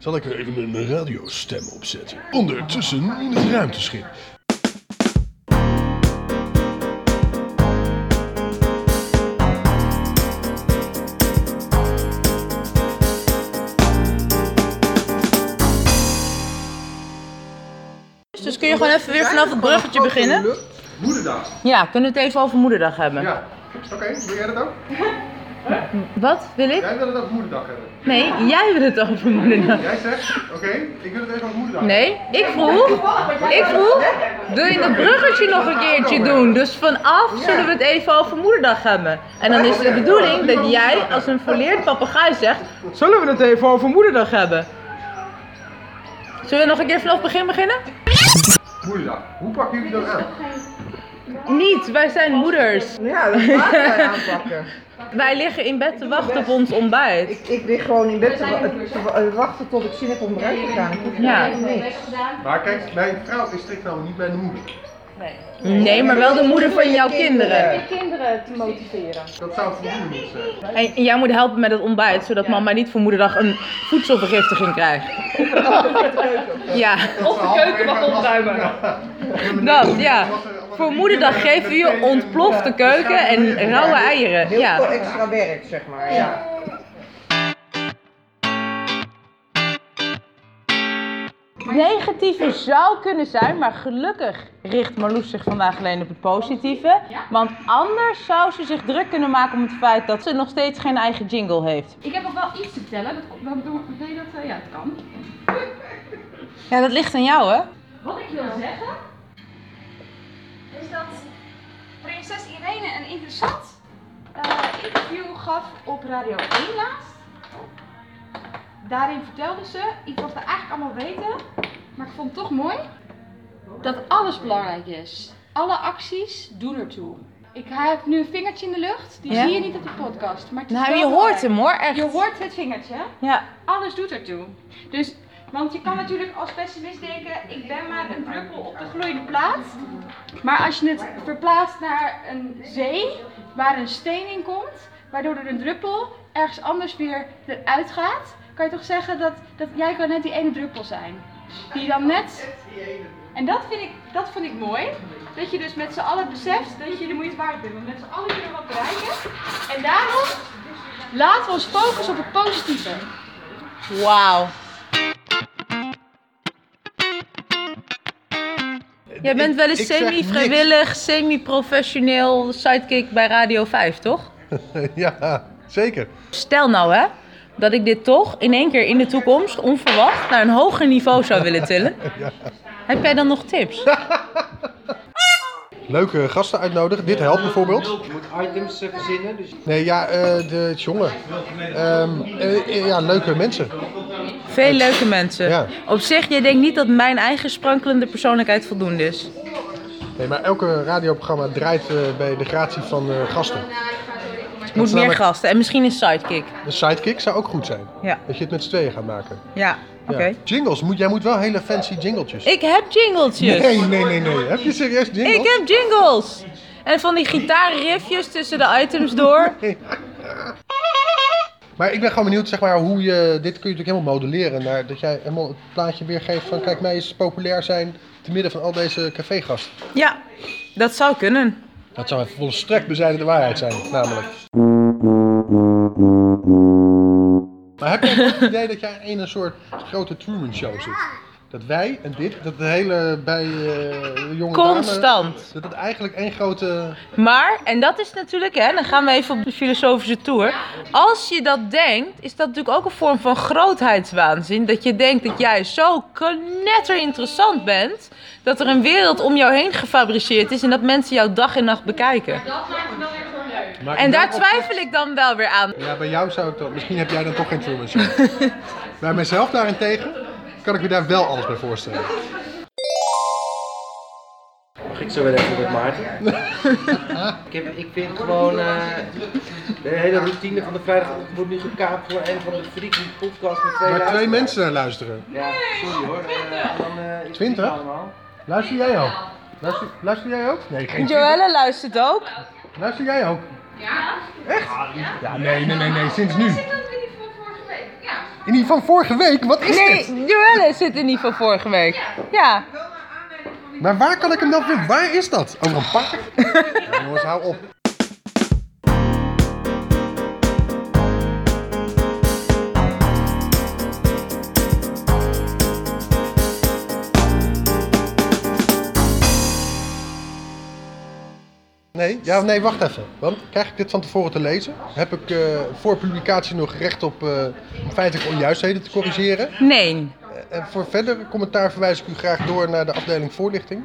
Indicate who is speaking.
Speaker 1: Zal ik er even een radiostem opzetten? Ondertussen in het ruimteschip.
Speaker 2: Dus kun je gewoon even weer vanaf het bruggetje beginnen?
Speaker 3: Moederdag.
Speaker 2: Ja, kunnen we het even over Moederdag hebben?
Speaker 3: Ja. Oké, wil jij dat ook?
Speaker 2: Wat wil ik?
Speaker 3: Jij wil het ook moederdag hebben.
Speaker 2: Nee, jij wil het over Moederdag.
Speaker 3: Jij zegt, oké, ik wil het even op moederdag.
Speaker 2: Nee, ik vroeg, ik vroeg, wil je dat bruggetje nog een keertje doen? Dus vanaf zullen we het even over Moederdag hebben. En dan is de bedoeling dat jij als een verleerd papegaai zegt, zullen we het even over Moederdag hebben? Zullen we nog een keer vanaf het begin beginnen?
Speaker 3: Moederdag. Hoe pakken jullie dat aan?
Speaker 2: Niet, wij zijn moeders.
Speaker 4: Ja, dat gaan wij aanpakken.
Speaker 2: Wij liggen in bed te wachten op ons ontbijt.
Speaker 4: Ik, ik lig gewoon in bed te, wa- te wa- wachten tot ik zin heb om eruit te gaan. Ik hoef
Speaker 2: Ja.
Speaker 4: echt niks.
Speaker 3: Maar kijk, mijn vrouw is strikt nou niet mijn moeder.
Speaker 2: Nee, maar wel de moeder van jouw kinderen.
Speaker 5: Je kinderen te motiveren.
Speaker 3: Dat zou voldoende moeten zijn.
Speaker 2: En jij moet helpen met het ontbijt, zodat mama niet voor moederdag een voedselvergiftiging krijgt. Ja,
Speaker 3: Of de keuken mag opruimen.
Speaker 2: dat, ja. Voor moederdag geven we je
Speaker 3: eh,
Speaker 2: ontplofte keuken en rauwe eieren.
Speaker 4: Heel veel
Speaker 2: Ja.
Speaker 4: extra werk, zeg maar. Ja.
Speaker 2: Negatieve zou kunnen zijn, maar gelukkig richt Marloes zich vandaag alleen op het positieve. Want anders zou ze zich druk kunnen maken om het feit dat ze nog steeds geen eigen jingle heeft.
Speaker 5: Ik heb nog wel iets te vertellen. Dat, komt- dat, bedoel- nee, dat, eh, ja, het kan.
Speaker 2: Ja, dat ligt aan jou, hè?
Speaker 5: Wat ik wil zeggen.
Speaker 6: is dat prinses Irene een interessant eh, interview gaf op Radio 1 laatst. Daarin vertelde ze iets wat we eigenlijk allemaal weten, maar ik vond het toch mooi. Dat alles belangrijk is. Alle acties doen ertoe. Ik hij heeft nu een vingertje in de lucht. Die
Speaker 2: Ja.
Speaker 6: zie je niet op de podcast. Maar het is
Speaker 2: Nou,
Speaker 6: wel
Speaker 2: je hoort
Speaker 6: belangrijk.
Speaker 2: hem hoor, echt.
Speaker 6: Je hoort het vingertje.
Speaker 2: Ja.
Speaker 6: Alles doet ertoe. Dus, want je kan natuurlijk als pessimist denken, ik ben maar een druppel op de gloeiende plaat. Maar als je het verplaatst naar een zee, waar een steen in komt, waardoor er een druppel ergens anders weer eruit gaat, kan je toch zeggen dat, dat jij kan net die ene druppel zijn. Die dan net... En dat vind ik, dat vond ik mooi. Dat je dus met z'n allen beseft dat je de moeite waard bent. Want met z'n allen kunnen we wat bereiken. En daarom laten we ons focussen op het positieve.
Speaker 2: Wauw. Jij bent wel eens
Speaker 1: ik zeg
Speaker 2: semi-vrijwillig, semi-professioneel sidekick bij Radio 5, toch?
Speaker 1: ja, zeker.
Speaker 2: Stel nou hè, dat ik dit toch in één keer in de toekomst onverwacht naar een hoger niveau zou willen tillen. Heb jij dan nog tips?
Speaker 1: Leuke gasten uitnodigen. Dit helpt bijvoorbeeld.
Speaker 3: Je moet items eh, verzinnen, dus
Speaker 1: Nee, ja, eh de jongen. Ehm, eh, ja, leuke mensen.
Speaker 2: Veel leuke mensen.
Speaker 1: Ja.
Speaker 2: Op zich, jij denkt niet dat mijn eigen sprankelende persoonlijkheid voldoende is.
Speaker 1: Nee, maar elke radioprogramma draait eh, bij de gratie van eh, gasten.
Speaker 2: Moet
Speaker 1: is
Speaker 2: meer
Speaker 1: namelijk-
Speaker 2: gasten en misschien een sidekick.
Speaker 1: Een sidekick zou ook goed zijn.
Speaker 2: Ja.
Speaker 1: Dat je het met z'n tweeën gaat maken.
Speaker 2: Ja, oké.
Speaker 1: Ja. Jingles, moet, jij moet wel hele fancy jingletjes.
Speaker 2: Ik heb jingletjes.
Speaker 1: Nee, nee, nee, nee. Heb je serieus jingles?
Speaker 2: Ik heb jingles! En van die gitaarriffjes tussen de items door.
Speaker 1: Maar ik ben gewoon benieuwd, zeg maar, hoe je... Dit kun je natuurlijk helemaal modelleren. Naar, dat jij helemaal het plaatje weergeeft van... Kijk, mij is populair zijn te midden van al deze cafégasten.
Speaker 2: Ja, dat zou kunnen.
Speaker 1: Dat zou volstrekt bezijden de waarheid zijn, namelijk. Maar heb je het idee dat jij in een soort grote Truman Show zit? Dat wij en dit, dat de hele bij eh, de jonge dame...
Speaker 2: Constant.
Speaker 1: Dat het eigenlijk één grote...
Speaker 2: Maar, en dat is natuurlijk, hè, dan gaan we even op de filosofische tour. Als je dat denkt, is dat natuurlijk ook een vorm van grootheidswaanzin. Dat je denkt dat jij zo knetter interessant bent, dat er een wereld om jou heen gefabriceerd is en dat mensen jou dag en nacht bekijken.
Speaker 1: Maar
Speaker 2: En
Speaker 1: in
Speaker 2: daar
Speaker 1: welk opzicht-
Speaker 2: twijfel ik dan wel weer aan.
Speaker 1: Ja, bij jou zou ik dan... Misschien heb jij dan toch geen Truman Show. bij mezelf daarentegen kan ik me daar wel alles bij voorstellen.
Speaker 7: Mag ik zo wel even met Maarten? ik, heb, ik vind gewoon eh, de hele routine van de vrijdagochtend wordt nu gekaapt voor een van de freaky podcast met twee
Speaker 1: Maar twee
Speaker 7: luisteraars.
Speaker 1: mensen naar luisteren.
Speaker 7: Ja, sorry hoor. Eh, dan, eh, is het
Speaker 1: Twintig?
Speaker 7: niet allemaal.
Speaker 1: Luister jij ook? Luister, luister jij ook? Nee, geen
Speaker 2: Joelle luistert ook.
Speaker 1: Luister jij ook? Ja. Echt? Ja, nee, nee, nee, nee, sinds nu.
Speaker 6: Ik heb het niet van vorige week. Ja.
Speaker 3: In die van vorige week, wat is dit?
Speaker 2: Nee, Joelle zit er niet van vorige week. Ja.
Speaker 3: Maar waar kan ik hem dan vinden? Waar is dat? Over een park? Ja, jongens, hou op. Nee, ja, nee, wacht even. Want krijg ik dit van tevoren te lezen? Heb ik eh, voor publicatie nog recht op eh, om feitelijke onjuistheden te corrigeren? Eh,
Speaker 2: Nee.
Speaker 3: En voor verdere commentaar verwijs ik u graag door naar de afdeling voorlichting.